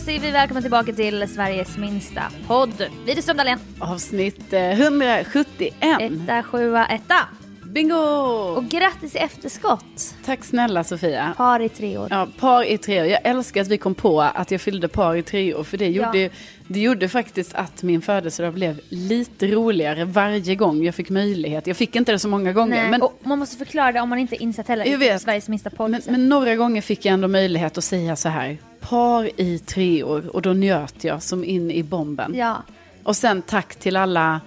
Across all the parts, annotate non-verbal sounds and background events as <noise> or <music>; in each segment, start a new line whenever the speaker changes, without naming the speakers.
säger vi välkomna tillbaka till Sveriges minsta podd. Widerström Dahlén,
Avsnitt eh, 171.
etta, sjua, etta.
Bingo!
Och grattis i efterskott!
Tack snälla Sofia.
Par i tre år.
Ja, par i tre år. Jag älskar att vi kom på att jag fyllde par i tre år. För det
Ja.
gjorde, ju- det gjorde faktiskt att min födelsedag blev lite roligare varje gång jag fick möjlighet. Jag fick inte det så många gånger.
Nej,
men,
och man måste förklara det om man inte insett heller.
Jag vet.
Sveriges minsta podd.
men, men några gånger fick jag ändå möjlighet att säga så här. Par i tre år. Och då njöt jag som in i bomben.
Ja.
Och sen tack till alla,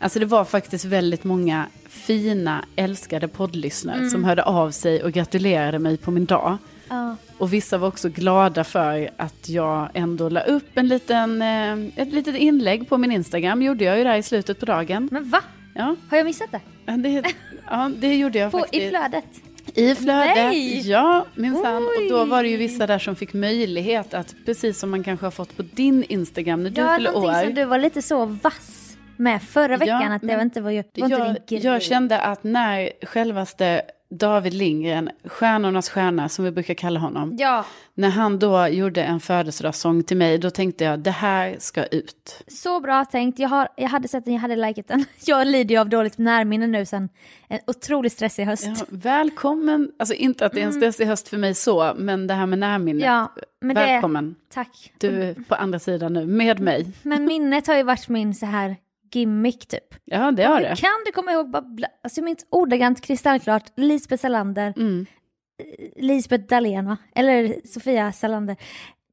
alltså det var faktiskt väldigt många fina, älskade poddlyssnare
Mm.
som hörde av sig och gratulerade mig på min dag.
Ja.
Och vissa var också glada för att jag ändå la upp en liten, eh, ett litet inlägg på min Instagram, gjorde jag ju där i slutet på dagen.
Men va?
Ja,
Har jag missat det?
det, ja, det gjorde jag
På,
faktiskt.
I flödet?
I flödet,
Nej!
ja minsann. Och då
Oj!
var det ju vissa där som fick möjlighet att, precis som man kanske har fått på din Instagram när du
ja,
fyller
någonting
år.
som du var lite så vass med förra veckan. att det
men
var inte, var ju, var inte
jag,
din grej.
jag kände att när självaste David Lindgren, stjärnornas stjärna som vi brukar kalla honom,
Ja,
när han då gjorde en födelsedagssång till mig, då tänkte jag det här ska ut.
så bra tänkt. Jag, har, jag hade sett den, jag hade likat den. <laughs> Jag lider ju av dåligt närminne nu sen en otroligt stressig höst.
Ja, välkommen, alltså inte att det är en stressig höst för mig så, men det här med närminnet,
Mm. Ja, men det- Mm.
välkommen.
Tack.
Du är på andra sidan nu, med mig.
Men minnet har ju varit min så här gimmick typ.
Ja, det har det.
Kan du komma ihåg, bara bla- alltså jag minns ordagrant kristallklart, Lisbeth Salander,
Mm.
Lisbeth Dahlén va? Eller Sofia Salander.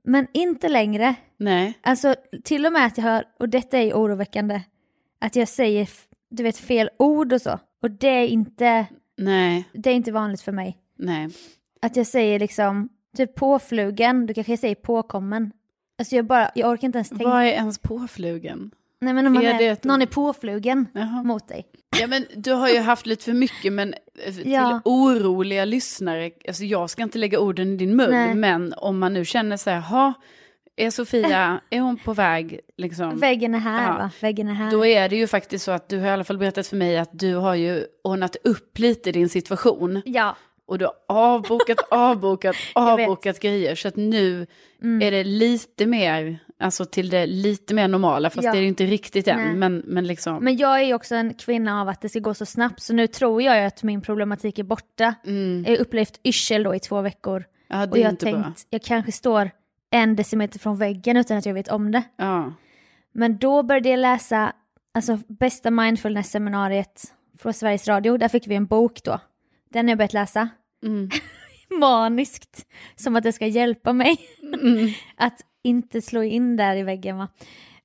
Men inte längre,
Nej,
alltså till och med att jag hör, och detta är ju oroväckande, att jag säger f- du vet fel ord och så. Och det är inte,
nej,
det är inte vanligt för mig.
nej.
Att jag säger liksom, typ påflugen, du kanske jag säger påkommen. Alltså jag bara, jag orkar inte ens tänka.
Vad är ens påflugen?
Nej men om man
är
är
det ett-
någon är påflugen
Jaha.
mot dig.
Ja, men du har ju haft lite för mycket, men eh, till
Ja.
oroliga lyssnare, alltså jag ska inte lägga orden i din mun,
Nej.
men om man nu känner så här, ha, är Sofia, är hon på väg liksom?
Väggen är här
Ja.
va? Väggen är här.
Då är det ju faktiskt så att du har i alla fall berättat för mig att du har ju ordnat upp lite din situation.
Ja,
Och du har
<laughs>
avbokat, avbokat,
vet. Mm.
avbokat grejer. Så att nu är det lite mer, alltså till det lite mer normala, fast
Ja.
det är ju inte riktigt
Nej.
än. Men, men liksom,
men jag är ju också en kvinna av att det ska gå så snabbt så nu tror jag ju att min problematik är borta. Jag har upplevt yrsel då i två veckor.
ja,
Och
Mm. det
jag
är
har
inte
tänkt,
bra.
jag kanske står en decimeter från väggen utan att jag vet om det.
Ja.
Men då började jag läsa, alltså bästa mindfulness-seminariet från Sveriges Radio, där fick vi en bok då. Den har jag börjat läsa.
Mm.
<laughs> Maniskt, som att det ska hjälpa mig. <laughs> att inte slå in där i väggen va.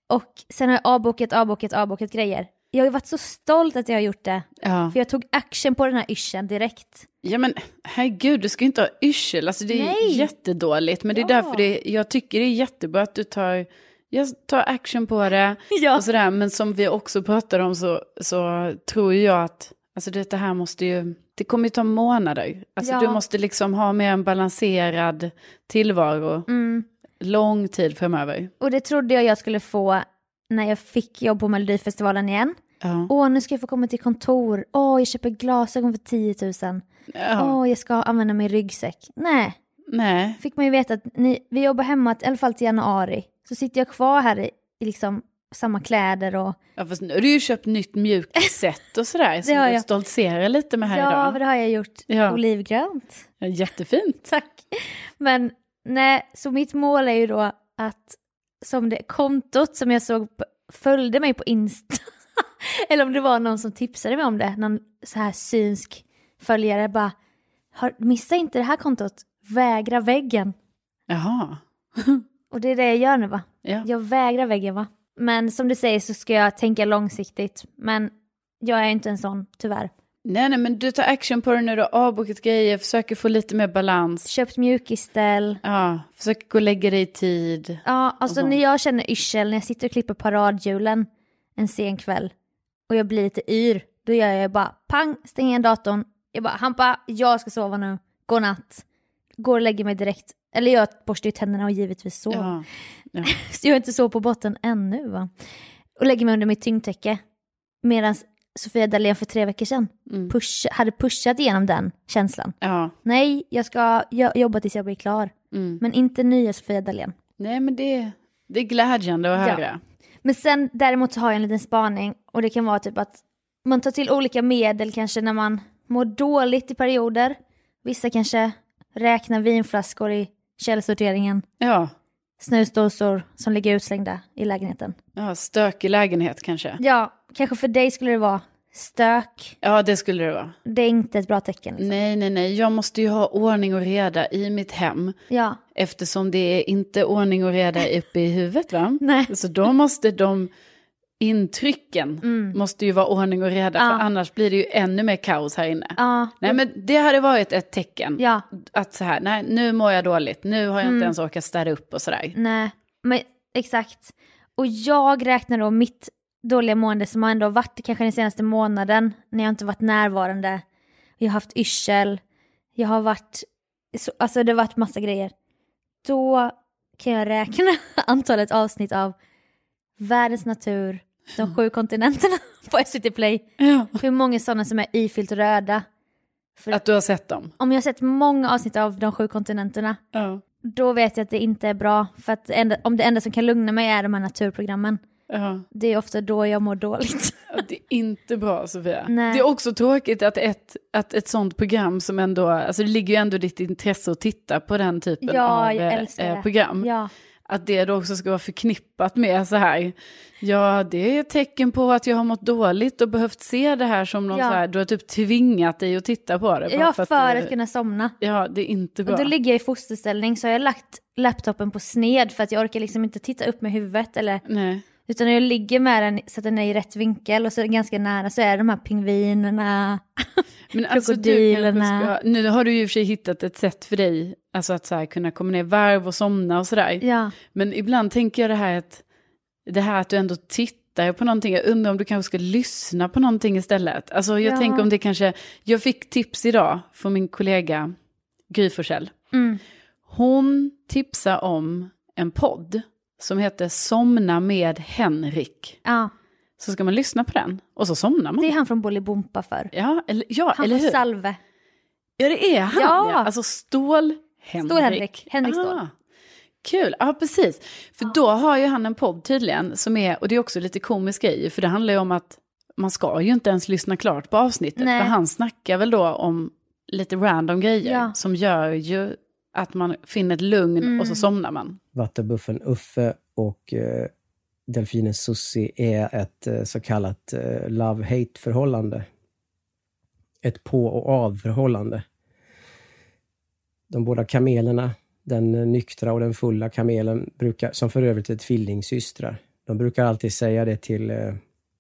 Och sen har jag avbokat, avbokat, avbokat grejer. Jag har ju varit så stolt att jag har gjort det.
Ja.
För jag tog action på den här yrseln direkt.
ja men herregud, du ska ju inte ha yrsel. Alltså det är
Nej.
jättedåligt. Men det är
Ja.
därför det, jag tycker det är jättebra att du tar, jag tar action på det.
Ja.
Och sådär. Men som vi också pratade om så, så tror jag att alltså det, det här måste ju, det kommer ju ta månader. Alltså
Ja.
du måste liksom ha mer en balanserad tillvaro
Mm.
lång tid framöver.
Och det trodde jag jag skulle få när jag fick jobb på Melodifestivalen igen.
Ja.
Åh, nu ska jag få komma till kontor. Åh, jag köper glasögon för 10 000.
ja.
Åh, jag ska använda min ryggsäck. Nej.
Nej.
fick man ju veta att ni, vi jobbar hemma i alla fall till januari. Så sitter jag kvar här i, i liksom samma kläder och...
Ja, fast nu har du ju köpt nytt mjukisset
<laughs>
och sådär. som
har
du
jag.
stoltserar lite med här
ja, men
idag.
det har jag gjort.
Ja.
Olivgrönt.
Ja, Jättefint.
<laughs> Tack. Men nej, så mitt mål är ju då att som det kontot som jag såg på- följde mig på Insta. <laughs> Eller om det var någon som tipsade mig om det, någon så här synsk följare bara "Har- missa inte det här kontot, vägra väggen.
Jaha.
Och det är det jag gör nu va?
Ja.
Jag vägrar väggen va? Men som du säger så ska jag tänka långsiktigt. Men jag är inte en sån, tyvärr.
Nej, nej, men du tar action på det nu, du har avbokat grejer, försöker få lite mer balans.
Köpt mjukisställ.
Ja, försöker gå och lägga dig i tid.
Ja, alltså
Mhm.
när jag känner yrsel, när jag sitter och klipper paradhjulen en sen kväll och jag blir lite yr, då gör jag bara pang, stänger igen datorn. Jag bara Hampa, jag ska sova nu. Godnatt. Går och lägger mig direkt. Eller jag borstar ju tänderna och givetvis sover.
Ja.
<laughs> Så jag är inte så på botten ännu va. Och lägger mig under mitt tyngdtäcke. Medan Sofia Dalén för tre veckor sedan
Mm.
push, hade pushat igenom den känslan.
Ja.
Nej, jag ska jo- jobba tills jag blir klar.
Mm.
Men inte nya Sofia Dalén.
Nej men det, det är glädjande att
Ja.
höra.
Men sen däremot så har jag en liten spaning och det kan vara typ att man tar till olika medel kanske när man mår dåligt i perioder. Vissa kanske räknar vinflaskor i källsorteringen,
Ja.
snusdosor som ligger utslängda i lägenheten.
ja, stökig lägenhet kanske.
Ja, kanske för dig skulle det vara stök.
Ja det skulle det vara.
Det är inte ett bra tecken. Liksom.
Nej nej nej, jag måste ju ha ordning och reda i mitt hem.
Ja,
Eftersom det är inte ordning och reda
<laughs>
uppe i huvudet va?
Nej.
Så då måste de intrycken måste ju vara ordning och reda
Mm. Ja.
för annars blir det ju ännu mer kaos här inne.
ja,
Nej men det hade varit ett tecken.
ja,
Att så här, nej nu mår jag dåligt, nu har jag inte ens orkat städa upp och sådär.
nej, men exakt. Och jag räknar då mitt dåliga mående som har ändå varit kanske den senaste månaden när jag inte varit närvarande. Jag har haft yrsel, jag har varit, så, alltså det har varit massa grejer. Då kan jag räkna <laughs> antalet avsnitt av Världens natur, De sju kontinenterna <laughs> på SVT Play. Hur många sådana som är ifyllt röda.
Att du har sett dem.
Om jag har sett många avsnitt av De sju kontinenterna
Ja.
då vet jag att det inte är bra. För att det enda, om det enda som kan lugna mig är de här naturprogrammen.
Ja.
Det är ofta då jag mår dåligt.
Ja, Det är inte bra Sofia.
Nej.
Det är också tråkigt att ett, att ett sånt program som ändå, alltså det ligger ju ändå i ditt intresse att titta på <laughs> den typen
Ja,
av
jag
eh,
älskar
eh,
det.
program.
Ja,
Att det då också ska vara förknippat med så här, ja det är ett tecken på att jag har mått dåligt och behövt se det här som någon
Ja.
så här, du har typ tvingat dig att titta på det. bara
jag för,
du-
att kunna somna.
Ja, det är inte bra.
Och då ligger jag i fosterställning så har jag lagt laptopen på sned för att jag orkar liksom inte titta upp med huvudet. Eller,
Nej.
utan jag ligger med den så att den är i rätt vinkel och så är den ganska nära så är det de här pingvinerna.
Men alltså du
Krokodilerna.
kanske ska, nu har du ju i och för sig hittat ett sätt för dig, alltså att så här, kunna komma ner i varv och somna och sådär.
Ja,
Men ibland tänker jag det här att, det här att du ändå tittar på någonting, jag undrar om du kanske ska lyssna på någonting istället. Alltså jag
Ja.
tänker om det kanske, jag fick tips idag från min kollega Gry Forssell.
mm.
Hon tipsar om en podd som heter Somna med Henrik.
ja.
Så ska man lyssna på den och så somnar man.
det är han från Bolibompa för.
Ja, eller, ja,
Han
eller
från
hur?
Salve.
Ja, det är han. Ja.
Ja.
Alltså Stål-Henrik.
Stål-Henrik. Henrik Ståhl.
Kul, ja precis. För då har ju han en podd tydligen som är, och det är också lite komisk grej, för det handlar ju om att man ska ju inte ens lyssna klart på avsnittet.
Nej.
För han snackar väl då om lite random grejer
Ja.
som gör ju att man finner ett lugn och
Mm.
så somnar man.
vattenbuffen Uffe och eh, delfinen Sussi är ett eh, så kallat eh, love-hate-förhållande. Ett på och av-förhållande. De båda kamelerna, den eh, nyktra och den fulla kamelen, brukar, som för övrigt är tvillingsystrar, de brukar alltid säga det till eh,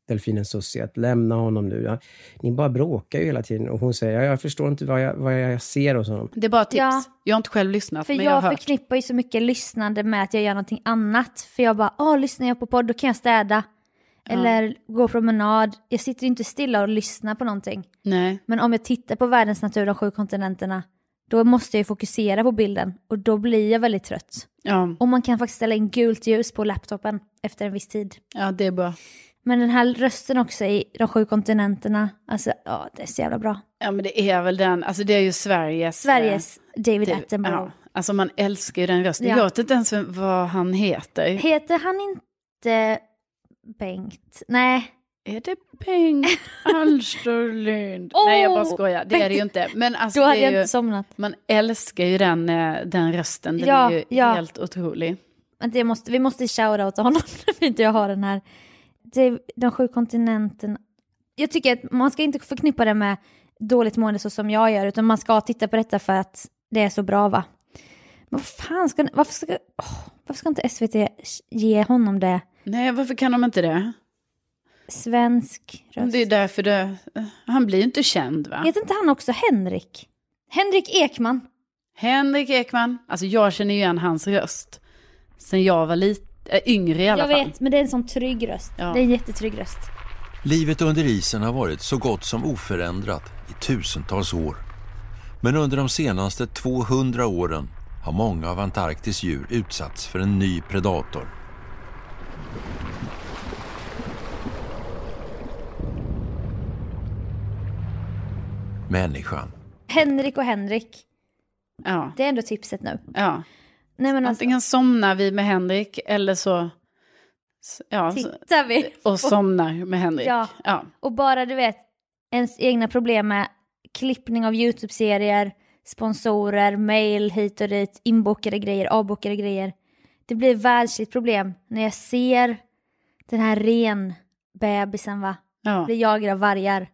delfinen Sussi, att lämna honom nu. Ja, ni bara bråkar ju hela tiden. Och hon säger, ja, jag förstår inte vad jag, vad jag ser hos honom.
Det är bara tips.
Ja.
Jag har inte själv lyssnat,
För
men
jag,
jag har hört.
förknippar ju så mycket lyssnande med att jag gör någonting annat. För jag bara, åh, lyssnar jag på podd då kan jag städa. Eller gå promenad. Jag sitter ju inte stilla och lyssnar på någonting.
Nej.
Men om jag tittar på världens natur, de sju kontinenterna, då måste jag ju fokusera på bilden och då blir jag väldigt trött.
Ja.
Och man kan faktiskt ställa in gult ljus på laptopen efter en viss tid.
ja, det är bra.
Men den här rösten också i de sju kontinenterna, alltså ja, det är så jävla bra.
Ja, men det är väl den, alltså det är ju Sveriges...
Sveriges David
Typ,
Attenborough.
Ja. Alltså man älskar ju den rösten.
Ja.
Jag vet inte ens vem- vad han heter.
Heter han inte Bengt? Nej.
Är det
<laughs>
Bengt Alsterlund?
Åh,
Nej jag bara skojar, det är
Bengt.
det ju inte. Men alltså,
Då hade
det är
jag
ju,
inte somnat.
man älskar ju den, eh, den rösten, den
Ja,
är ju
ja.
helt otrolig.
Men det måste, vi måste shoutouta honom <laughs> när inte jag har den här. Det är de sju kontinenterna. Jag tycker att man ska inte förknippa det med dåligt mående så som jag gör, utan man ska titta på detta för att det är så bra va. Men vad fan ska, varför ska, åh, varför ska inte SVT ge honom det?
Nej varför kan de inte det?
Svensk röst.
Det är därför det, han blir ju inte känd va?
Heter inte han också Henrik? Henrik Ekman.
Henrik Ekman, alltså jag känner ju igen hans röst. Sen jag var lite, äh, yngre i alla
Jag
fall.
vet, men det är en sån trygg röst.
Ja.
Det är en jättetrygg röst.
Livet under isen har varit så gott som oförändrat i tusentals år. Men under de senaste 200 åren har många av Antarktis djur utsatts för en ny predator. Människan.
Henrik och Henrik,
Ja,
det är ändå tipset nu.
ja.
Nej men alltså,
Antingen somnar vi med Henrik eller så... s- Ja, så-
tittar vi.
Alltså, och somnar med Henrik.
Ja.
ja.
Och bara du vet, ens egna problem med klippning av YouTube-serier, sponsorer, mail hit och dit, inbokade grejer, avbokade grejer. Det blir ett världsligt problem när jag ser den här ren bebisen va,
ja.
blir jagad av vargar.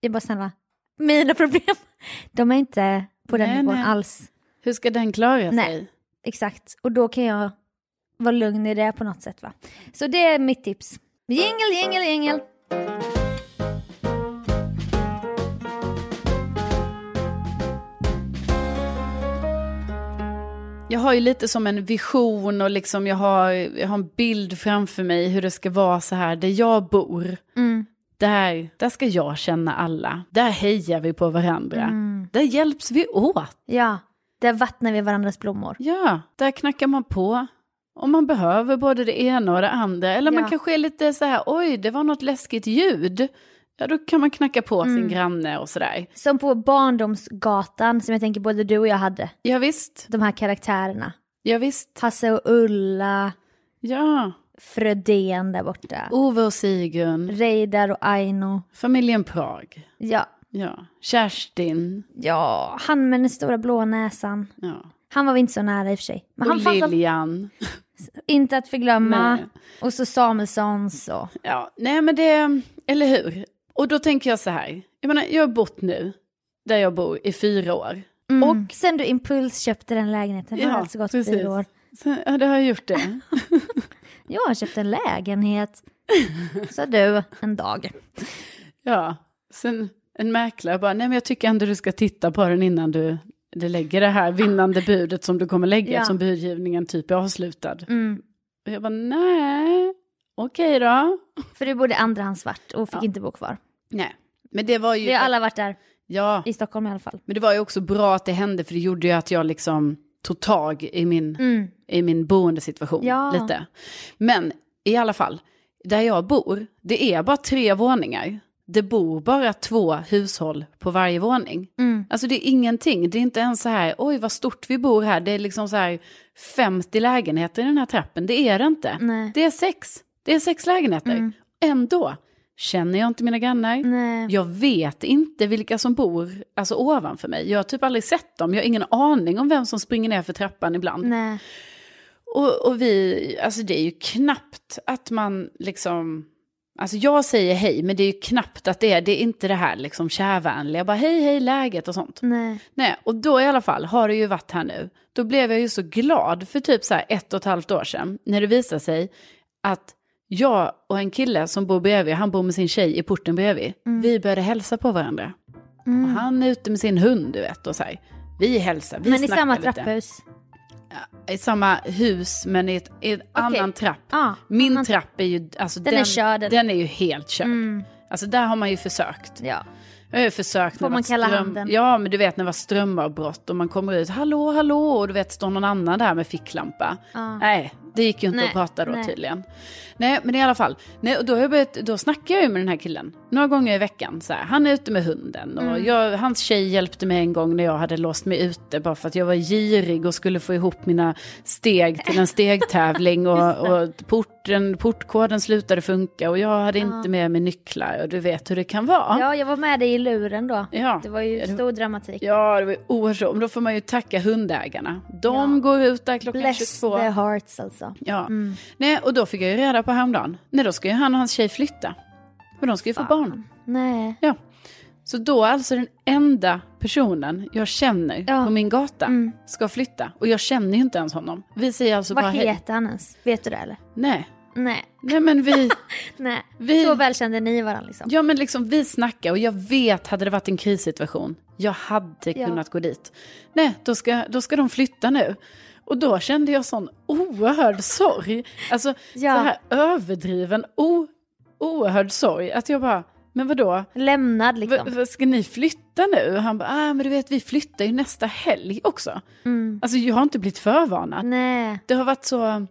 Jag bara snälla, mina problem, <laughs> de är inte på den
Nej,
nivån
nej.
alls.
Hur ska den klara
Nej.
sig?
Exakt, och då kan jag vara lugn i det på något sätt va. Så det är mitt tips. Jingel, jingel, jingel.
Jag har ju lite som en vision och liksom jag, har, jag har en bild framför mig hur det ska vara så här där jag bor.
Mm.
Där, där ska jag känna alla. Där hejar vi på varandra.
Mm.
Där hjälps vi åt.
Ja, där vattnar vi varandras blommor.
Ja, där knackar man på. Om man behöver både det ena och det andra. Eller
Ja.
man kanske är lite så här, oj, det var något läskigt ljud. Ja, då kan man knacka på sin
Mm.
granne och sådär.
Som på Barndomsgatan som jag tänker både du och jag hade.
Ja, visst.
De här karaktärerna.
Ja, visst.
Hasse och Ulla,
Ja.
Frödén där borta.
Ove och Sigun.
Reidar och Aino.
Familjen Prag.
Ja,
Ja. Kerstin.
ja, han med den stora blå näsan.
Ja.
Han var vi inte så nära i och för sig. Men
Och
han fanns all-
Lilian.
inte att förglömma.
Nej.
Och så Samuelssons och...
Ja, nej men det, eller hur? Och då tänker jag så här, jag menar jag har bott nu, där jag bor, i fyra år.
Mm. Och sen du impulsköpte den lägenheten. Ja, har alltså gått fyra år.
Så, ja, det har jag gjort det.
Jag har köpt en lägenhet. Sa du en dag.
ja, sen en mäklare bara, nej men jag tycker ändå du ska titta på den innan du, du lägger det här vinnande budet som du kommer lägga,
Ja.
eftersom budgivningen typ är avslutad.
Mm.
Och jag bara, nej, okej då.
För du bodde andrahandsvart och fick
Ja.
inte bo kvar.
Nej, men det var ju...
Vi har alla varit där,
Ja,
i Stockholm i alla fall.
men det var ju också bra att det hände, för det gjorde ju att jag liksom tog tag i min...
Mm.
i min boendesituation
Ja.
lite. Men i alla fall, där jag bor, det är bara tre våningar. Det bor bara två hushåll på varje våning.
Mm.
Alltså det är ingenting, det är inte ens så här, oj vad stort vi bor här, det är liksom så här 50 lägenheter i den här trappen, det är det inte.
Nej.
Det är sex, det är sex lägenheter.
Mm.
Ändå känner jag inte mina grannar,
Nej.
jag vet inte vilka som bor alltså, ovanför mig. Jag har typ aldrig sett dem, jag har ingen aning om vem som springer ner för trappan ibland.
Nej.
Och, och vi, alltså det är ju knappt att man liksom, alltså jag säger hej, men det är ju knappt att det är, det är inte det här liksom kärvänliga, bara hej hej läget och sånt.
Nej.
Nej, och då i alla fall har det ju varit här nu. Då blev jag ju så glad för typ så här ett och ett halvt år sedan, när det visade sig att jag och en kille som bor bredvid, han bor med sin tjej i porten bredvid, vi började hälsa på varandra.
Mm.
Och han är ute med sin hund, du vet, och så här, vi hälsar, vi
Men i
snackar
samma
lite
trapphus?
i samma hus men i, ett, i en annan trapp.
Ja,
Min
annan
trapp är ju, alltså,
Den är körd, Mm. eller?
den är ju helt körd. Alltså där har man ju försökt.
Ja.
Jag har ju försökt
Får
när
man
det varit
kalla handen?
Ja men du vet när det var strömavbrott och man kommer ut, hallå hallå och du vet står någon annan där med ficklampa. Nej, det gick ju inte
Nej,
att prata då
nej.
tydligen. Nej men i alla fall, nej, och då, har jag börjat, då snackar jag ju med den här killen några gånger i veckan. Så här, han är ute med hunden och
Mm.
jag, hans tjej hjälpte mig en gång när jag hade låst mig ute bara för att jag var girig och skulle få ihop mina steg till
<laughs>
en stegtävling och, och porten, portkoden slutade funka och jag hade inte med mig nycklar och du vet hur det kan vara.
ja, jag var med dig i luren då.
Ja.
Det var ju stor dramatik.
Ja, det var ju oerhört roligt. Men Då får man ju tacka hundägarna. De
Ja.
går ut där klockan
Bless
22.
the hearts alltså.
Ja. Nej, och då fick jag ju reda på häromdagen. Nej, då ska ju han och hans tjej flytta. För de ska ju få barn.
Nej.
Ja. Så då alltså den enda personen jag känner
Ja. Mm.
på min gata ska flytta. Och jag känner ju inte ens honom. Vi säger alltså bara
Vad
hej.
heter han ens? Vet du det eller?
Nej.
Nej.
Nej men vi,
Nej.
Vi-
Så väl kände ni varandra liksom.
ja men liksom vi snackar och jag vet hade det varit en krissituation, jag hade
Ja.
kunnat gå dit. Nej, då ska, då ska de flytta nu. Och då kände jag sån oerhörd sorg. Alltså
Ja.
så här överdriven, o, oerhörd sorg. Att jag bara, men vadå?
Lämnad
V-
liksom.
v- ska ni flytta nu? Och han bara, ah, men du vet vi flyttar ju nästa helg också.
Mm.
Alltså jag har inte blivit förvarnad.
Nej.
Det har varit så,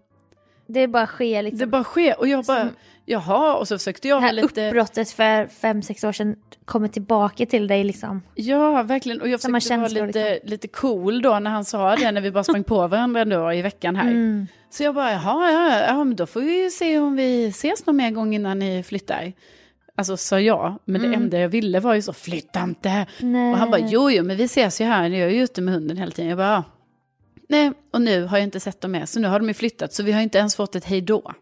Det bara sker liksom.
det bara sker. Och jag bara, Jaha, och så försökte
Det
jag
här
vara lite...
uppbrottet för fem sex år sedan kommer tillbaka till dig liksom.
Ja, verkligen. Och jag
Samma
försökte vara
känslor, liksom.
lite, lite cool då när han sa det, när vi bara sprang på varandra då i veckan här.
Mm.
Så jag bara, jaha, ja, ja, ja, men då får vi ju se om vi ses någon mer gång innan ni flyttar. Alltså sa jag, men det enda jag ville var ju så, flytta inte.
Mm. Nej.
Och han bara, jo, jo, men vi ses ju här, jag är ju ute med hunden hela tiden. Jag bara, ja. nej, och nu har jag inte sett dem mer, så nu har de ju flyttat, så vi har inte ens fått ett hej då.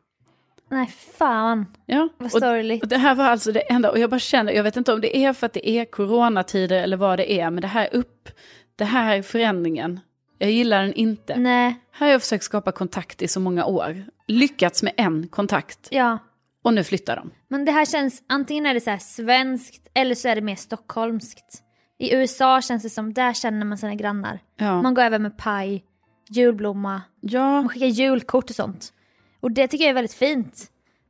Nej, fan.
Ja,
Vad
och
sorgligt.
och det här var alltså det enda, och jag bara känner, jag vet inte om det är för att det är coronatider eller vad det är, men det här upp, det här förändringen, jag gillar den inte.
Nej,
Här har jag försökt skapa kontakt i så många år, lyckats med en kontakt,
ja.
och nu flyttar de.
Men det här känns, antingen är det så här svenskt eller så är det mer stockholmskt. I USA känns det som, där känner man sina grannar.
Ja,
Man går över med paj, julblomma,
ja,
man skickar julkort och sånt. Och det tycker jag är väldigt fint.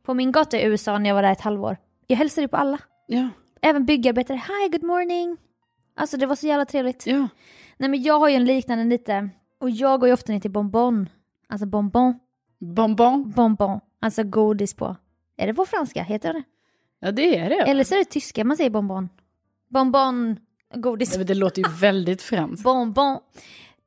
På min gata i USA när jag var där ett halvår, jag hälsade på alla.
ja,
Även byggarbetare, hi good morning. Alltså det var så jävla trevligt.
ja.
Nej men jag har ju en liknande lite, och jag går ju ofta ner till Bonbon. Alltså Bonbon,
bonbon.
Bonbon, alltså godis på. Är det på franska, heter det
Ja, det är det.
Eller så är det tyska man säger bonbon. Bonbon, godis,
Nej, men det låter ju väldigt franskt.
bonbon.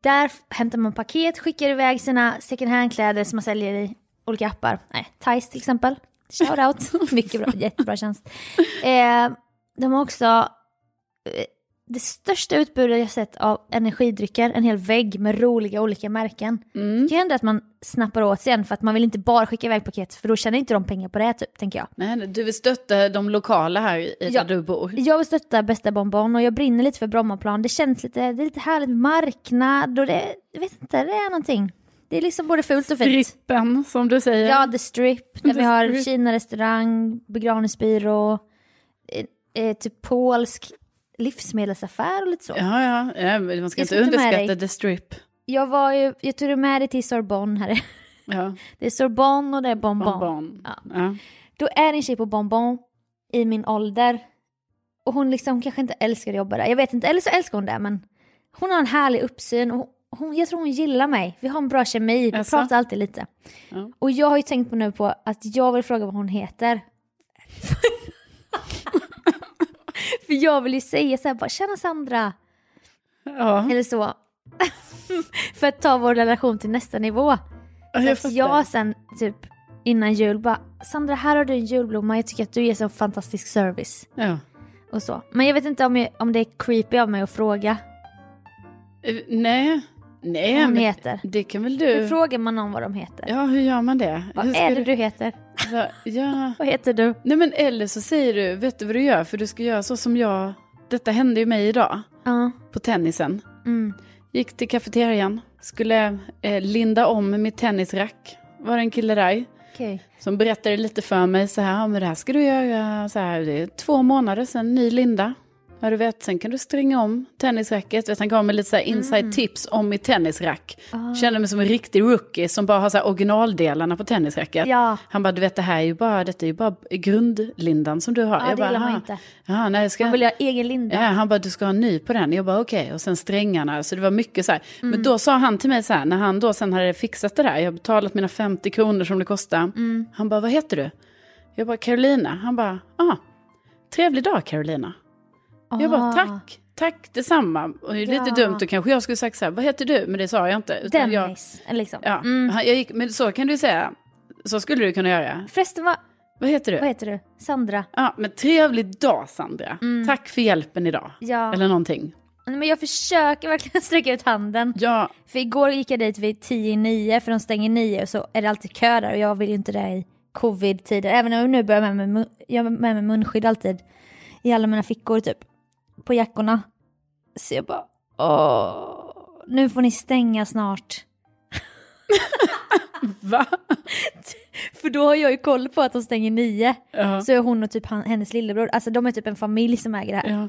Där f- hämtar man paket, skickar iväg sina second hand-kläder som man säljer i olika appar. Nej, Thais till exempel. Shout out. <laughs> Mycket bra, jättebra tjänst. Eh, de har också eh, det största utbudet jag sett av energidrycker, en hel vägg med roliga olika märken.
Mm.
Det kan ju hända att man snappar åt sig en för att man vill inte bara skicka iväg paket för då tjänar inte de pengar på det typ, tänker jag.
Nej, nej, du vill stötta de lokala här i där
Ja.
du bor.
Jag vill stötta Bästa Bonbon och jag brinner lite för Brommaplan. Det känns lite, det är lite härligt med marknad och det, jag vet inte, det är någonting. Det är liksom både fult och fint.
Strippen, som du säger.
Ja, The Strip, där
The
vi har
Strip.
Kina-restaurang, begravningsbyrå, eh, eh, typ polsk livsmedelsaffär och lite så.
ja, ja. ja men man ska
Jag
inte
ska ta med
underskatta
dig.
the strip.
Jag var ju, jag tog med dig till Sorbonne här. <laughs>
Ja,
Det är Sorbonne och det är Bonbon.
bonbon.
Ja.
Ja.
Då är det en tjej på Bonbon i min ålder och hon liksom kanske inte älskar att jobba där. Jag vet inte, eller så älskar hon det men hon har en härlig uppsyn och hon, jag tror hon gillar mig. Vi har en bra kemi, vi
Jaså?
pratar alltid lite.
Ja.
Och jag har ju tänkt på nu på att jag vill fråga vad hon
<laughs>
heter. För jag vill ju säga så här bara “tjena Sandra”
Ja.
eller så. <laughs> För att ta vår relation till nästa nivå. Så
Ja,
att
jag fattar.
Alltså, jag sen typ innan jul bara “Sandra här har du en julblomma, jag tycker att du ger så fantastisk service”
Ja.
och så. Men jag vet inte om, jag, om det är creepy av mig att fråga
Eh, Nej. Nej,
vad hon
men
heter.
det kan väl
Hur
du...
frågar man någon vad de heter?
Ja, hur gör man det?
vad
hur ska
är det du heter?
Va- Ja.
Vad heter du?
Nej, men eller så säger du, vet du vad du gör? För du ska göra så som jag... Detta hände ju mig idag,
Ja.
på tennisen.
Mm.
Gick till kafeterian, skulle eh, linda om mitt tennisrack. Var det en kille där
Okej.
som berättade lite för mig så här, ja, men det här ska du göra så här, det är två månader sedan, ny linda. Ja, du vet, sen kan du stringa om tennisracket. Vet, han gav mig lite så här inside
Mm.
tips om mitt tennisrack.
Ah.
Kände mig som en riktig rookie som bara har så här originaldelarna på tennisracket.
Ja.
Han bara, du vet det här är ju bara, detta är ju bara grundlindan som du har.
Ja, det
bara,
gillar man
"Ah,
inte.
Ja, nej, ska
Man vill ha egen linda.
Ja, han bara, du ska ha en ny på den. Jag bara, okej. Och sen strängarna. Så det var mycket så här.
Mm.
Men då sa han till mig så här, när han då sen hade fixat det där. Jag har betalat mina 50 kronor som det kostade.
Mm.
Han bara, vad heter du? Jag bara, Carolina. Han bara, ah, trevlig dag Carolina. Jag bara,
Ah.
tack. Tack detsamma. Och det är
Ja.
lite dumt, då kanske jag skulle sagt så här, vad heter du? Men det sa jag inte. Utan jag,
Dennis, liksom.
ja,
Mm.
han, jag gick, men så kan du säga. Så skulle du kunna göra.
Förresten, vad,
Vad heter du?
vad heter du? Sandra?
Ja, men trevlig dag Sandra. Tack för hjälpen idag.
Mm. Ja.
Eller någonting.
Men jag försöker verkligen <laughs> sträcka ut handen.
Ja,
För igår gick jag dit vid 10 i 9 för de stänger 9 och så är det alltid kö där och jag vill ju inte det i covid-tider. Även om jag nu börjar med mig, mun- jag har med mig munskydd alltid i alla mina fickor typ. På jackorna. Så jag bara åh, nu får ni stänga snart.
va?
För då har jag ju koll på att de stänger 9.
Ja.
Så är hon och typ han, hennes lillebror, alltså de är typ en familj som äger det här.
Ja.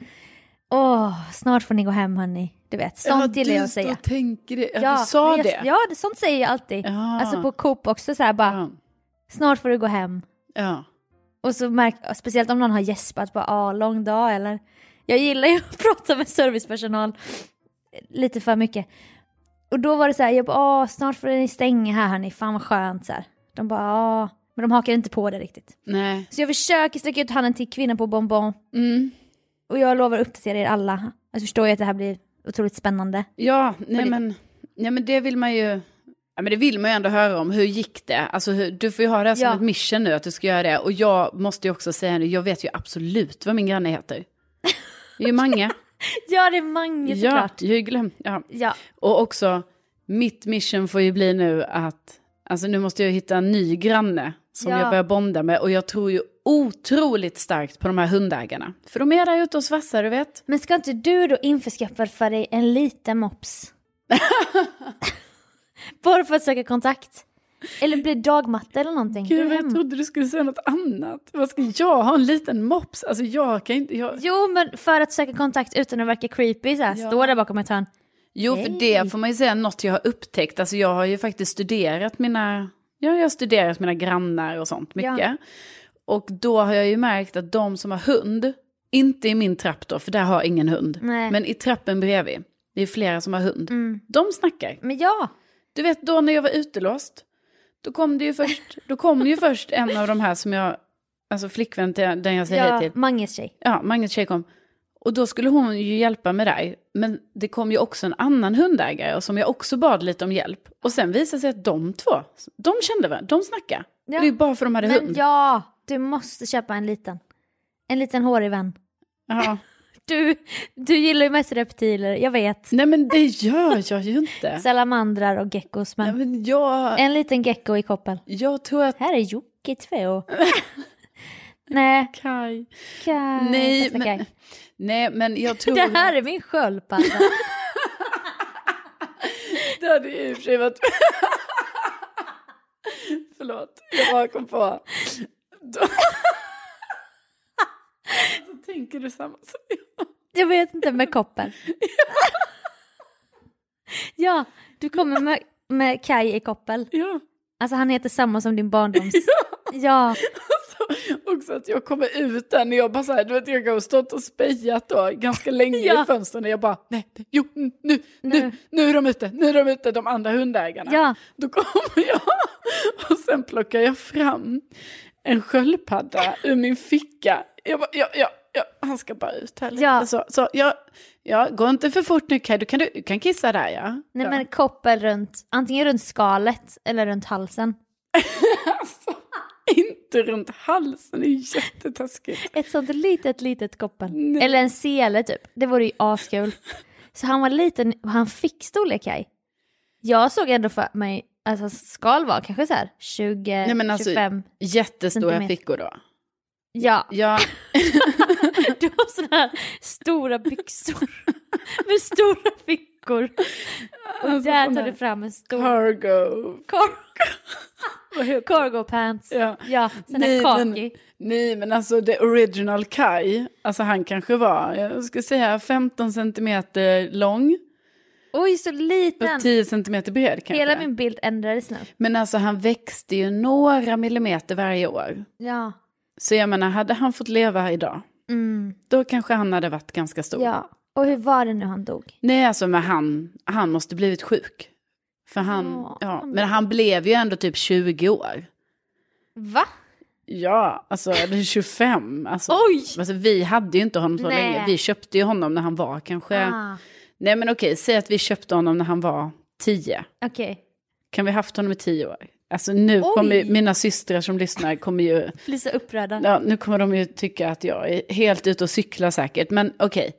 Åh, snart får ni gå hem hörni. Du vet, sånt gillar jag att säga.
Du tänker det. Ja, du sa
men jag,
det.
Ja, det- sånt säger jag alltid.
Ja.
Alltså på Coop också så här bara,
ja.
snart får du gå hem.
ja.
Och så märk, speciellt om någon har gäspat, bara ah, lång dag eller. Jag gillar ju att <laughs> prata med servicepersonal lite för mycket. Och då var det så här, jag bara ah, snart får ni stänga här hörni, fan vad skönt så här. De bara ah, Men de hakar inte på det riktigt.
Nej.
Så jag försöker sträcka ut handen till kvinnan på Bonbon
Mm.
och jag lovar att uppdatera er alla. Jag förstår ju att det här blir otroligt spännande.
Ja, nej
det-
men, nej men det vill man ju... Ja, men det vill man ju ändå höra om. Hur gick det? Alltså, hur, du får ju ha det här som
Ja.
ett mission nu, att du ska göra det. Och jag måste ju också säga nu, jag vet ju absolut vad min granne heter. Det är ju Mange.
<laughs> Ja, det är Mange
ja,
såklart.
jag har ju glömt. Ja.
Ja.
Och också, mitt mission får ju bli nu att, alltså nu måste jag hitta en ny granne som
Ja.
jag börjar bonda med. Och jag tror ju otroligt starkt på de här hundägarna. För de är där ute och svassar, du vet.
Men ska inte du då införskaffa för dig en liten
<laughs>
mops? Bara för att söka kontakt. Eller bli dagmatta eller någonting. Gå
Gud,
hem.
jag trodde du skulle säga något annat. Vad ska jag ha en liten mops? Alltså jag kan inte... Jag...
Jo, men för att söka kontakt utan att verka creepy så här,
Ja.
stå där bakom ett hörn.
Jo, för
Nej.
det får man ju säga något jag har upptäckt. Alltså jag har ju faktiskt studerat mina... Ja, jag har studerat mina grannar och sånt mycket.
Ja.
Och då har jag ju märkt att de som har hund, inte i min trapp då, för där har jag ingen hund.
Nej.
Men i trappen bredvid, det är flera som har hund.
Mm.
De snackar.
Men ja,
Du vet då när jag var utelåst, då kom det ju först, då kom det ju först en av de här som jag, alltså flickvän till den jag säger hej
ja
till.
Manges tjej.
Ja, Magnus tjej kom. Och då skulle hon ju hjälpa mig där. Men det kom ju också en annan hundägare och som jag också bad lite om hjälp. Och sen visade det sig att de två, de kände varandra, de snackade.
Ja.
Det är ju bara för de hade
Men
hund.
ja, du måste köpa en liten. En liten hårig vän.
Ja.
Du, du gillar ju mest reptiler, jag vet.
Nej men det gör jag ju inte.
<laughs> Salamandrar och geckos,
Nej,
men
men jag,
en liten gecko i koppel.
jag tror att...
Här är Jocke två. <laughs> Nej,
Kaj.
Kaj.
Nej,
Bästa
men,
Kaj.
nej men jag tror...
Det här är min sköldpadda.
Det hade ju i och för sig varit... <laughs> Förlåt, jag bara kom på. Då... <laughs> Så tänker du samma som jag.
jag vet inte, med
<laughs>
koppel. ja, du kommer med, med Kaj i koppel.
Ja.
Alltså han heter samma som din
<laughs>
barndoms... ja.
Alltså, också att jag kommer ut där när jag bara så här, du vet jag har stått och spejat då ganska länge
Ja.
i fönstren och jag bara, nej, nej, jo, nu, nu,
Nu.
nu, nu är de ute, nu är de ute, de andra hundägarna.
Ja.
Då kommer jag <laughs> och sen plockar jag fram en sköldpadda ur min ficka. Jag bara, ja, ja, ja, han ska bara ut här lite.
Ja.
Så, så jag, ja, gå inte för fort nu Kaj, du kan, du, du kan kissa där ja.
Nej
ja.
men koppel runt, antingen runt skalet eller runt halsen.
Alltså, inte runt halsen, det är jättetaskigt.
Ett sånt litet, litet koppel.
Nej.
Eller en sele typ. Det vore ju askul. Så han var liten, han fick storlek Kaj. Jag såg ändå för mig, alltså hans skal var kanske så här 20,
Nej, men alltså-
25.
Jättestora
Centimeter.
fickor då. <laughs>
Ja,
Ja,
du har sådana här stora byxor <laughs> med stora fickor. Och där tar du fram en stor
cargo.
kor-
<laughs> Vad heter
cargo pants.
Ja.
Ja, sån här
Nej, men-
kaki.
Nej, men alltså the original Kai, alltså han kanske var, jag ska säga 15 centimeter lång
Oj, så liten!
och 10 centimeter bred kanske.
Hela min bild ändrades nu.
Men alltså han växte ju några millimeter varje år.
Ja.
Så jag menar, hade han fått leva här idag,
Mm.
då kanske han hade varit ganska stor.
ja. Och hur var det nu han dog?
Nej, alltså men han, han måste blivit sjuk. För han,
Ja,
ja,
han blev-
men han blev ju ändå typ 20 år.
Va?
Ja, alltså eller 25. Alltså,
Oj!
Alltså, vi hade ju inte honom så
Nej.
länge. Vi köpte ju honom när han var kanske...
Ah,
Nej men okej, säg att vi köpte honom när han var 10.
Okej.
Kan vi haft honom i 10 år? Alltså nu
Oj.
kommer ju- mina systrar som lyssnar kommer ju...
Blir så upprörda.
Ja, nu kommer de ju tycka att jag är helt ute och cyklar säkert. Men okej.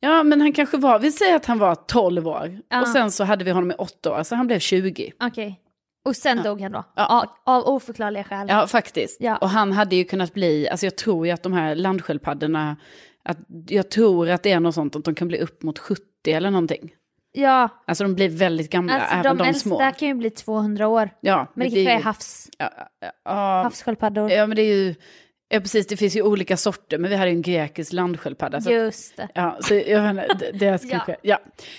Ja, men han kanske var... Vi säger att han var 12 år.
Ja.
Och sen så hade vi honom i 8 år, så han blev 20.
Okej. Och sen dog han då?
Ja.
Ja. Av oförklarliga skäl?
Ja, faktiskt.
Ja.
Och han hade ju kunnat bli, alltså jag tror ju att de här landsköldpaddorna, att jag tror att det är något sånt att de kan bli upp mot 70 eller någonting.
Ja,
Alltså de blir väldigt gamla,
alltså
även
de,
de,
äldsta
små.
kan ju bli 200 år.
Ja,
Men det
är
kanske är
ju-
havs,
ja, ja, ja,
havssköldpaddor.
ja, men det är ju, ja precis, det finns ju olika sorter, men vi hade ju en grekisk landsköldpadda. Så, att-
Just det.
ja, så jag menar, det, det här ska
Ja.
ja. ske. Ja.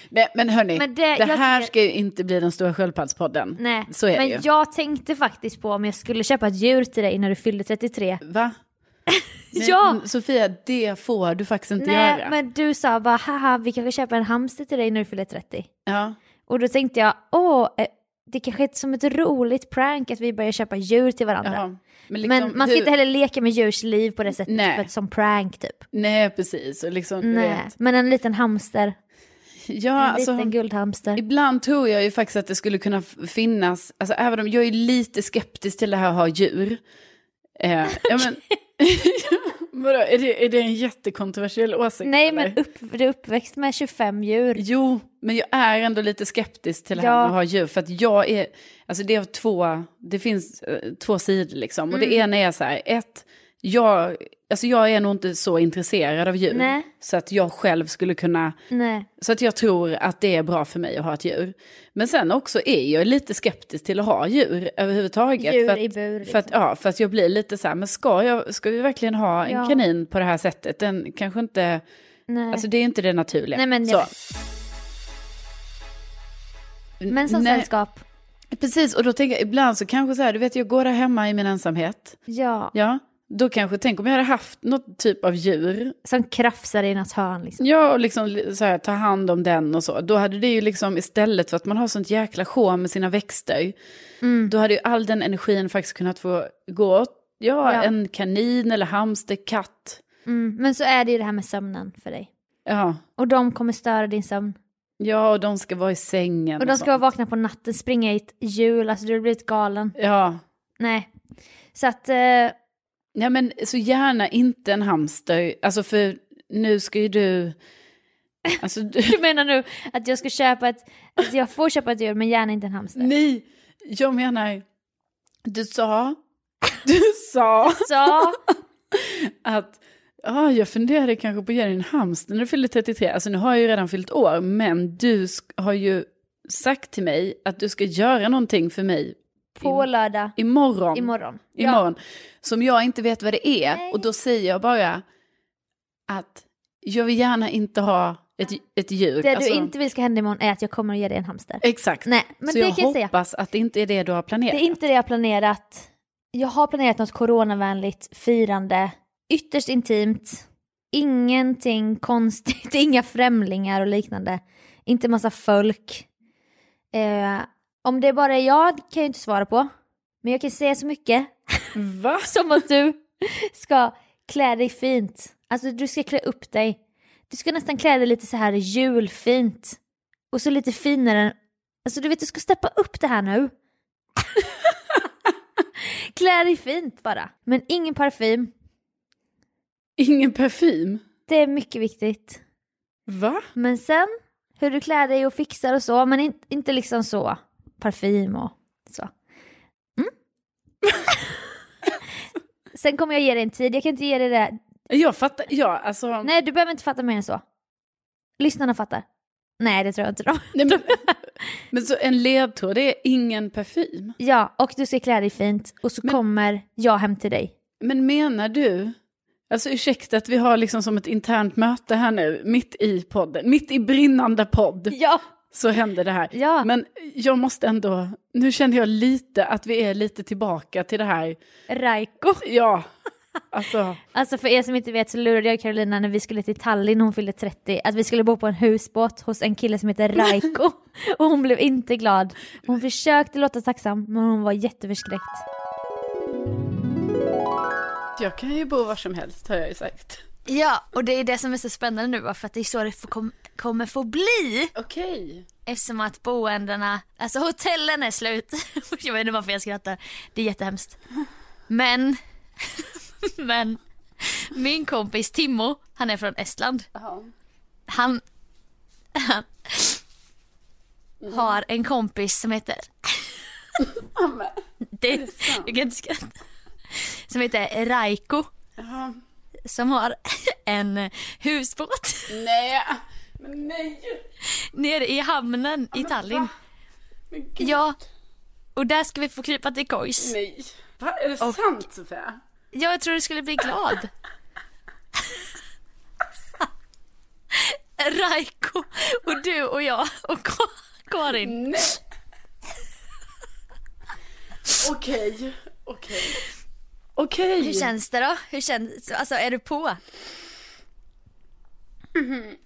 Men, men hörni,
Men det-
det,
jag
här
tycker-
ska ju inte bli den stora sköldpaddspodden.
Nej,
Så är
men
det ju.
jag tänkte faktiskt på om jag skulle köpa ett djur till dig när du fyllde 33.
Va? Nej,
Ja!
Sofia, det får du faktiskt inte
Nej,
göra.
men du sa bara haha, vi kanske köper en hamster till dig när du fyller 30.
Ja.
Och då tänkte jag, åh, eh, det kanske är som ett roligt prank att vi börjar köpa djur till varandra.
Jaha. Men,
Men man ska
liksom hur-
inte heller leka med djurs liv på det sättet,
Nej.
för att, som prank typ.
Nej, precis. Och liksom, du
Nej.
vet.
Men en liten hamster,
Ja,
en
alltså,
liten guldhamster.
Ibland tror jag ju faktiskt att det skulle kunna f- finnas, alltså även om jag är lite skeptisk till det här att ha djur.
<laughs>
Eh, ja, men, <laughs> vadå, är, det, är det en jättekontroversiell åsikt?
Nej
eller?
men upp, du är uppväxt med 25 djur.
Jo, men jag är ändå lite skeptisk till det här
Ja.
med att ha djur. För att jag är, alltså det är två, det finns eh, två sidor liksom. Och det
Mm.
ena är så här, ett, jag, alltså jag är nog inte så intresserad av djur.
Nej.
Så att jag själv skulle kunna
Nej.
så att jag tror att det är bra för mig att ha ett djur. Men sen också är jag lite skeptisk till att ha djur överhuvudtaget.
Djur
för att,
i bur, liksom.
För att, ja, för att jag blir lite så här, men ska, jag, ska vi verkligen ha en
Ja.
kanin på det här sättet? Den kanske inte,
Nej.
alltså det är inte det naturliga.
Nej, men
så.
jag- men som
Nej.
sällskap,
Precis, och då tänker jag ibland så kanske så här, du vet jag går där hemma i min ensamhet.
ja.
Ja, då kanske, tänk om jag hade haft något typ av djur
Som krafsar i något hörn liksom.
Ja, och liksom li- så här, ta hand om den och så. Då hade det ju liksom istället för att man har sånt jäkla sjå med sina växter.
Mm.
Då hade ju all den energin faktiskt kunnat få gå åt. Ja,
Ja.
en kanin eller hamster, katt.
Mm. Men så är det ju det här med sömnen för dig.
Ja,
Och de kommer störa din sömn.
ja och de ska vara i sängen.
Och de ska vara
sånt.
vakna på natten, springa i ett hjul, alltså du har blivit galen.
Ja,
Nej. Så att, eh, <laughs>
Nej, men så gärna inte en hamster. Alltså för nu ska ju du...
<laughs>
Alltså, du...
du menar nu att jag ska köpa ett, att jag får köpa ett djur men gärna inte en hamster.
Nej, jag menar... Du sa... <laughs> Du sa...
Så,
att ah, jag funderade kanske på att ge dig en hamster när du fyllde 33. Alltså nu har jag ju redan fyllt år, men du sk- har ju sagt till mig att du ska göra någonting för mig
på lördag,
imorgon.
imorgon.
imorgon Som jag inte vet vad det är.
Nej.
Och då säger jag bara att jag vill gärna inte ha ett, ett djur.
Det
Alltså,
du inte vill ska hända imorgon är att jag kommer att ge dig en hamster.
Exakt.
Nej, men
Så
det
jag
kan jag säga.
hoppas att det inte är det du har planerat.
Det är inte det jag har planerat. Jag har planerat något coronavänligt firande. Ytterst intimt. Ingenting konstigt, <laughs> inga främlingar och liknande. Inte massa folk. Eh, om det bara är jag kan jag ju inte svara på. Men jag kan säga så mycket <laughs>
Va?
som att du ska klä dig fint. Alltså du ska klä upp dig. Du ska nästan klä dig lite så här julfint. Och så lite finare. Alltså du vet, du ska steppa upp det här nu. klä dig fint bara. Men ingen parfym.
Ingen parfym?
Det är mycket viktigt.
Va?
Men sen hur du klär dig och fixar och så, men in, inte liksom så parfym och så. Mm. <laughs> sen kommer jag ge dig en tid, jag kan inte ge dig det
Jag fattar, ja alltså.
Nej, du behöver inte fatta mer än så. Lyssnarna fattar. Nej, det tror jag inte de.
Nej, men, <laughs> men så en ledtråd, det är ingen parfym.
Ja, och du ska klä dig fint och så
Men-
kommer jag hem till dig.
Men menar du, alltså ursäkta att vi har liksom som ett internt möte här nu, mitt i podden, mitt i brinnande podd,
Ja!
så händer det här.
Ja.
Men jag måste ändå, nu känner jag lite att vi är lite tillbaka till det här,
Raiko.
<laughs> ja, alltså,
Alltså för er som inte vet så lurade jag Carolina när vi skulle till Tallinn, hon fyllde 30, att vi skulle bo på en husbåt hos en kille som heter <laughs> Raiko. och hon blev inte glad. Hon försökte låta tacksam, men hon var jätteförskräckt.
jag kan ju bo var som helst har jag ju sagt.
Ja, och det är det som är så spännande nu, för att det är så det kommer få bli.
Okej.
Eftersom att boendena, alltså hotellen är slut. <laughs> Jag vet inte varför jag skrattar. Det är jättehemskt. Men, <laughs> men min kompis Timmo, han är från Estland. Han, han har en kompis som heter... Det, <laughs> jag kan inte skratta. Som heter Raiko. Som har <laughs> en husbåt
Nej, men nej,
nere i hamnen i Tallinn. Ja, och där ska vi få krypa till kojs.
nej. Va, är det sant Sofia?
Ja, jag tror du skulle bli glad. Raiko och du och jag och Ka- Karin.
Nej. Okej, okej.
Hur
Okej.
känns det då? Hur känns, alltså är du på?
Det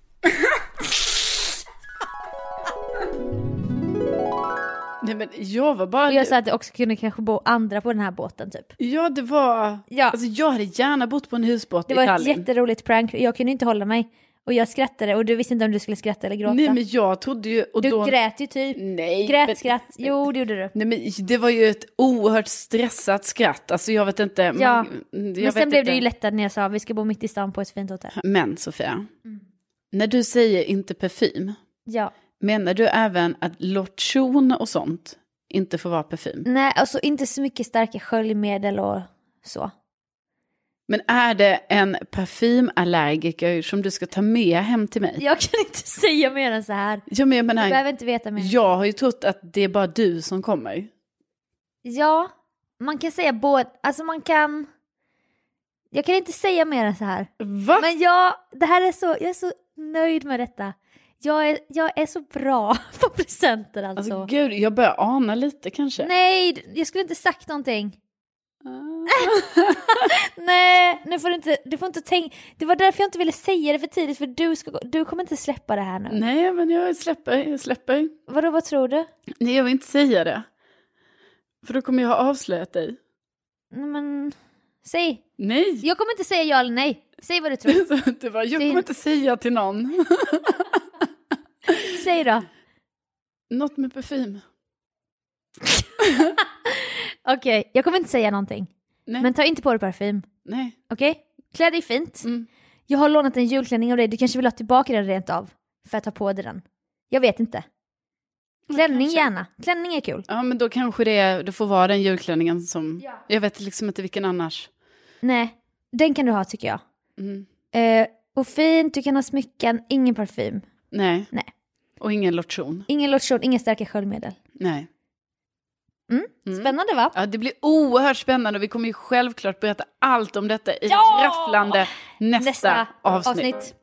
Nej men jag var bara...
Och jag sa att det också kunde kanske bo andra på den här båten typ.
Ja det var...
Ja.
Alltså jag hade gärna bott på en husbåt
Det
i
var ett
Tallinn.
jätteroligt prank, jag kunde inte hålla mig. Och jag skrattade och du visste inte om du skulle skratta eller gråta.
Nej men jag trodde ju... Och
du
då...
grät ju typ.
Nej.
Grät,
men-
skratt. Jo, det gjorde du.
Nej men det var ju ett oerhört stressat skratt. Alltså jag vet inte. man-
Ja.
jag
men
vet
sen blev
inte.
du ju lättad när jag sa vi ska bo mitt i stan på ett fint hotell.
Men Sofia,
Mm.
när du säger inte parfym,
Ja.
menar du även att lotion och sånt inte får vara parfym?
Nej, alltså inte så mycket starka sköljmedel och så.
Men är det en parfymallergiker som du ska ta med hem till mig?
Jag kan inte <laughs> säga mer än så här.
Ja, men jag
Du
menar,
behöver inte veta mer.
jag har ju trott att det är bara du som kommer.
Ja, man kan säga både, alltså man kan... Jag kan inte säga mer än så här.
Va?
Men jag, det här är så, jag är så nöjd med detta. Jag är, jag är så bra <laughs> på presenter alltså.
Alltså gud, jag börjar ana lite kanske.
Nej, jag skulle inte sagt någonting.
Ah.
Nej, nu får du inte, du får inte tänka. Det var därför jag inte ville säga det för tidigt för du, ska, gå- du kommer inte släppa det här nu.
Nej, men jag släpper, jag släpper.
Vadå, vad tror du?
Nej, jag vill inte säga det. För då kommer jag ha avslöjat dig.
Nej, men, säg.
Nej! <laughs>
Jag kommer inte säga ja eller nej. Säg vad du tror.
Du bara, jag
Det är-
kommer inte säga till någon. <laughs>
Säg då.
Något med parfym.
Okej, jag kommer inte säga någonting.
Nej.
Men ta inte på dig parfym.
Nej.
Okej? Klä dig fint.
Mm.
Jag har lånat en julklänning av dig, du kanske vill ha tillbaka den rent av. För att ta på dig den. Jag vet inte. Klänning
kanske.
gärna. Klänning är kul.
Ja, men då kanske det, är- det får vara den julklänningen som...
Ja.
Jag vet liksom inte vilken annars.
Nej, den kan du ha tycker jag.
Mm.
Eh, och fint, du kan ha smycken, ingen parfym.
Nej.
Nej.
Och ingen lotion.
Ingen lotion, inga starka sköljmedel.
Nej.
Mm.
Mm.
Spännande va?
Ja, det blir oerhört spännande och vi kommer ju självklart berätta allt om detta i
Ja!
rafflande nästa, avsnitt.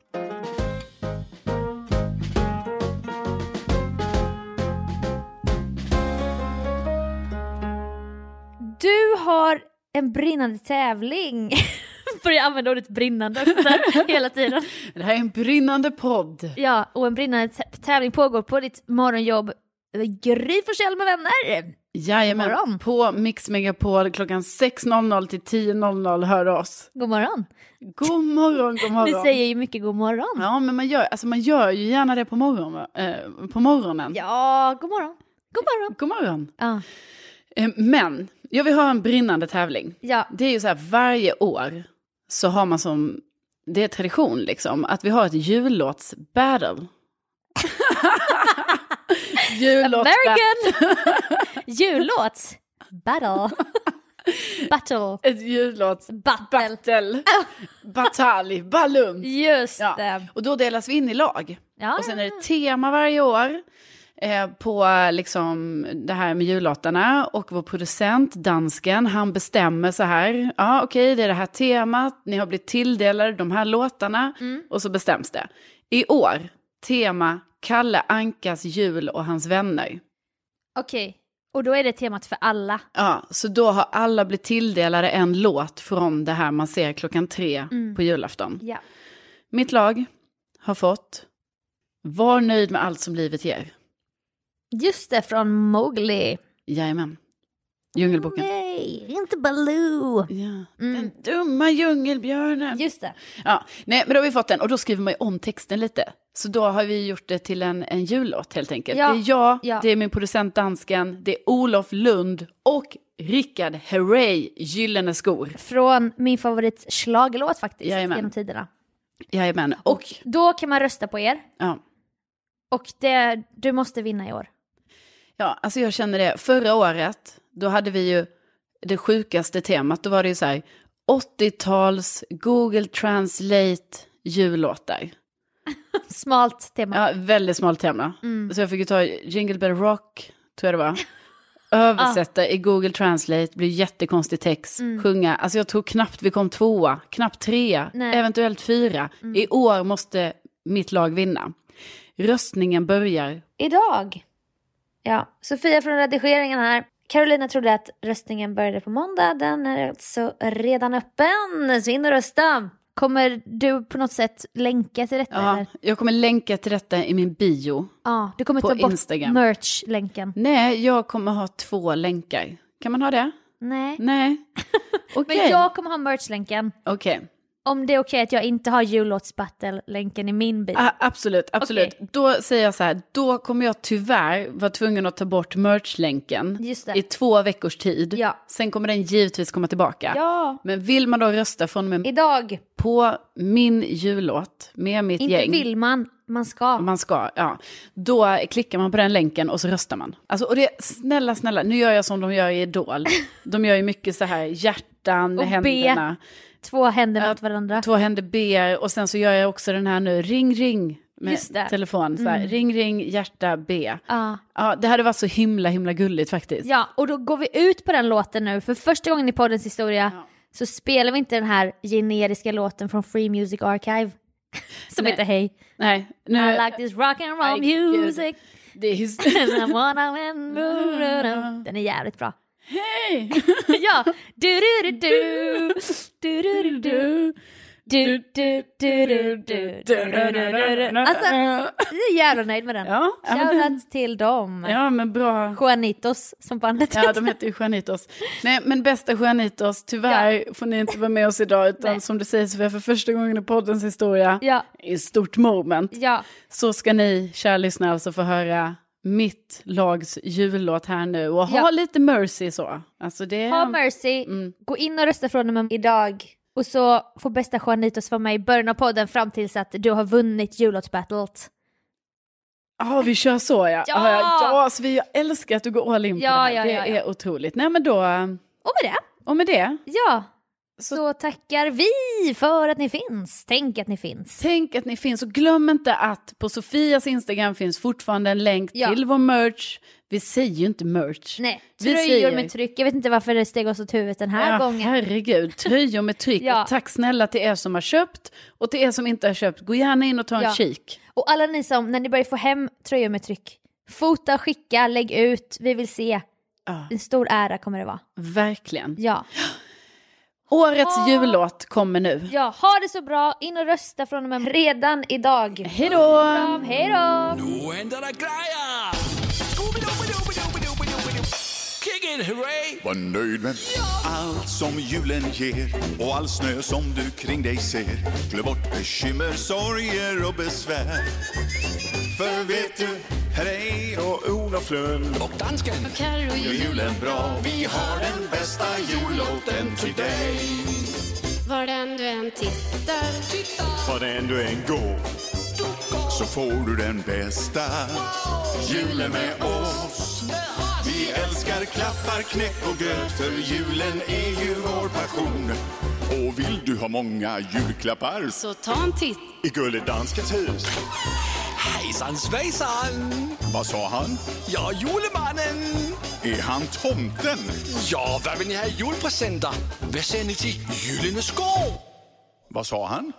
Du har en brinnande tävling. <laughs> Börjar använda ordet brinnande också där, <laughs> hela tiden.
Det här är en brinnande podd.
Ja, och en brinnande tä- tävling pågår på ditt morgonjobb. eh, Gry Forssell med vänner.
Jajamän,
God morgon.
på Mix Megapol klockan 6.00 till 10.00 hör oss.
God morgon.
God morgon, god
Ni
morgon.
säger ju mycket god morgon.
Ja, men man gör, alltså man gör ju gärna det på, morgon, va? eh, på morgonen.
Ja, god morgon. God morgon.
God morgon.
Ja,
Eh, men, jag vill ha en brinnande tävling.
ja.
Det är ju så här, varje år så har man som, det är tradition liksom, att vi har ett <laughs> jullåtsbattle. Jullåtsbattle.
American!
<laughs>
Jullåts. Battle. Battle.
Ett jullåts...
Battle.
Battle. Batalj. Ballung.
Just
Ja.
det.
Och då delas vi in i lag.
Ja,
Och sen är det tema varje år eh, på liksom det här med jullåtarna. Och vår producent, dansken, han bestämmer så här. Ja, okej, det är det här temat. Ni har blivit tilldelade de här låtarna. Och så bestäms det. I år, tema Kalle Ankas jul och hans vänner.
Okej, och då är det temat för alla.
Ja, så då har alla blivit tilldelade en låt från det här man ser klockan tre på julafton.
Ja.
Mitt lag har fått Var nöjd med allt som livet ger.
Just det, från Mowgli.
Jajamän. Djungelboken.
Nej, inte Baloo.
Ja.
Mm.
Den dumma djungelbjörnen.
Just det.
Ja. Nej, men då har vi fått den och då skriver man ju om texten lite. Så då har vi gjort det till en, en jullåt helt enkelt.
Ja.
Det är jag,
Ja.
det är min producent dansken, det är Olof Lund och Rickard Herrey, Gyllene skor.
Från min favorit schlagerlåt faktiskt,
Jajamän.
genom tiderna.
Jajamän. Och,
Då kan man rösta på er.
ja.
Och det, du måste vinna i år. <laughs>
Ja, alltså jag känner det. Förra året, då hade vi ju det sjukaste temat. Då var det ju så här, 80-tals Google Translate jullåtar.
Smalt tema.
Ja, väldigt smalt tema.
Mm.
Så jag fick ju ta Jingle Bell Rock, tror jag det var. <laughs> Översätta i Google Translate, blir jättekonstig text,
Mm.
sjunga. Alltså jag tror knappt vi kom tvåa, knappt trea,
Nej. Mm.
eventuellt fyra. I år måste mitt lag vinna. Röstningen börjar
Idag. Ja, Sofia från redigeringen här. Carolina trodde att röstningen började på måndag. Den är alltså redan öppen. Så in och rösta. Kommer du på något sätt länka till detta?
Ja,
eller?
jag kommer länka till detta i min bio.
ja du kommer
på
ta bort
Instagram.
merch-länken?
Nej, jag kommer ha två länkar. Kan man ha det?
Nej.
Nej. Mm.
<laughs>
Okej.
Men jag kommer ha merch-länken.
Okej.
Om det är okej att jag inte har jullåtsbattle-länken i min bil.
Ah, absolut, absolut. Då säger jag så här, då kommer jag tyvärr vara tvungen att ta bort merch-länken
Just det.
i två veckors tid.
Ja.
Sen kommer den givetvis komma tillbaka.
Ja,
Men vill man då rösta från och med
idag.
på min jullåt med mitt
Inte
gäng,
vill man, man
om
ska.
man ska, ja, då klickar man på den länken och så röstar man. Alltså, och det, snälla, snälla, nu gör jag som de gör
<laughs>
i Idol. De gör ju mycket så här hjärtan med
Och
händerna.
Två händer
Ja,
mot varandra.
Två händer ber och sen så gör jag också den här nu, ring ring
Just det. Mm.
med telefon. Så här, Ring ring hjärta B.
Ja.
Ja, det hade varit så himla himla gulligt faktiskt.
ja, och då går vi ut på den låten nu. För första gången i poddens historia så spelar vi inte den här generiska låten från Free Music Archive. <laughs> Som
Nej.
heter Hej.
Nej, nu,
I like this rock and roll
Nej, gud. <laughs>
music.
det är his-
And I wanna win. Den är jävligt bra.
Hej!
<laughs> ja, du du du du du du du du du du du du du du Alltså, jag är jävla nöjd med den.
Ja, ja, men den-
Shoutout till dem.
ja men bra.
Juanitos som bandet
Ja, de heter ju Juanitos. Nej, men bästa Juanitos, tyvärr får ni inte vara med oss idag, utan
Nej.
som du säger Sofia, för första gången i poddens historia,
Ja,
i ett stort moment,
ja,
så ska ni, kära lyssnare, alltså få höra mitt lags jullåt här nu. Och
Ja.
ha lite mercy så. Alltså det...
ha mercy.
Mm.
Gå in och rösta från och med idag. Och så får bästa Juanitos vara med i början av podden fram tills att du har vunnit jullåtsbattlet.
Ja, vi kör så ja.
Ja!
ja, ja så vi, jag älskar att du går all in på
Ja,
det här.
ja,
det
ja, ja.
är otroligt. Nej, men då,
Och med det,
och med det,
ja,
Så-
så tackar vi för att ni finns. Tänk att ni finns.
tänk att ni finns och glöm inte att på Sofias Instagram finns fortfarande en länk
Ja.
till vår merch. Vi säger ju inte merch.
Nej,
Vi
tröjor
säger-
med tryck. Jag vet inte varför det steg oss åt huvudet den här
Ja,
gången.
Herregud, tröjor med tryck.
<laughs> Ja.
Och tack snälla till er som har köpt och till er som inte har köpt. Gå gärna in och ta en
Ja.
kik.
Och alla ni som, när ni börjar få hem tröjor med tryck, fota, skicka, lägg ut, vi vill se.
Ja.
En stor ära kommer det vara.
Verkligen.
Ja.
Årets
Ah.
jullåt kommer nu.
ja, ha det så bra, in och rösta från och med redan idag.
Hej då!
Kram, hej då!
Nu ändrar det grejer! Kick it, hurray!
Var nöjd med allt som julen ger och all snö som du kring dig ser. Glöm bort bekymmer, sorger och besvär. För vet du, här är och Olof Lund och
Dansken!
gör julen bra. Vi har den bästa jullåten till dig.
Var den du än tittar
Var den du än går så får du den bästa julen med oss. Vi älskar klappar, knäck och gröt för julen är ju vår passion. Och vill du ha många julklappar
så ta en titt
i Gulledanskens hus,
Hejsan svejsan!
vad sa han?
Jag är julemannen!
Är han tomten?
Ja, vad vill ni ha i julpresenter? Vad säger ni till Gyllene skor?
Vad sa han?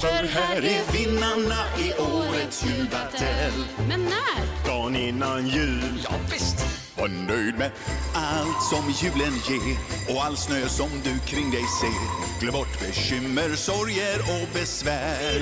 För här är vinnarna i årets julbatell.
Men när?
Dagen innan jul.
Ja, visst!
Var nöjd med allt som julen ger och all snö som du kring dig ser. Glöm bort bekymmer, sorger och besvär.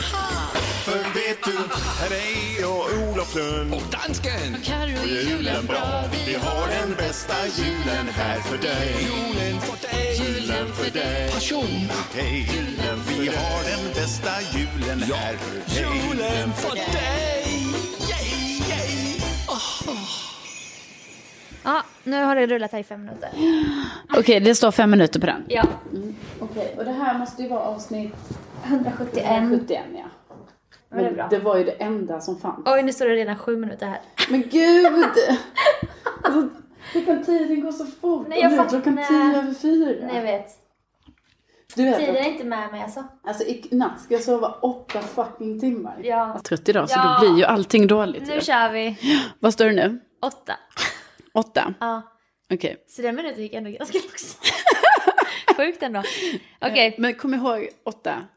För vet du, här är och Olof Lund.
Och dansken!
Carro
är julen bra. Vi har den bästa julen här för dig.
Julen för dig!
Julen för dig.
Passion!
Hej, julen för dig. Vi har den bästa julen här för dig.
Julen för dig! Yay, yay!
Ja, nu har det rullat här i fem minuter.
Okej, det står fem minuter på den.
Ja,
Okej, och det här måste ju vara avsnitt
171.
71 ja.
Men det är bra.
det var ju det enda som fanns.
Oj, nu står det redan sju minuter här.
Men gud! alltså, klockan tio, den går så fort.
Nej, jag
Och nu är
fattar-
klockan
nej.
tio över fyra.
Nej, jag vet.
du
Tiden
vet,
är inte med mig alltså.
alltså i natt ska jag sova åtta fucking timmar. Jag
Ja,
är trött idag, så
Ja.
då blir ju allting dåligt.
nu
ju.
kör vi.
Vad står det nu?
Åtta.
Åtta?
Ja.
Okej.
Så den minuten <laughs> gick ändå ganska långsamt. Sjukt ändå. Okej.
Men kom ihåg, åtta.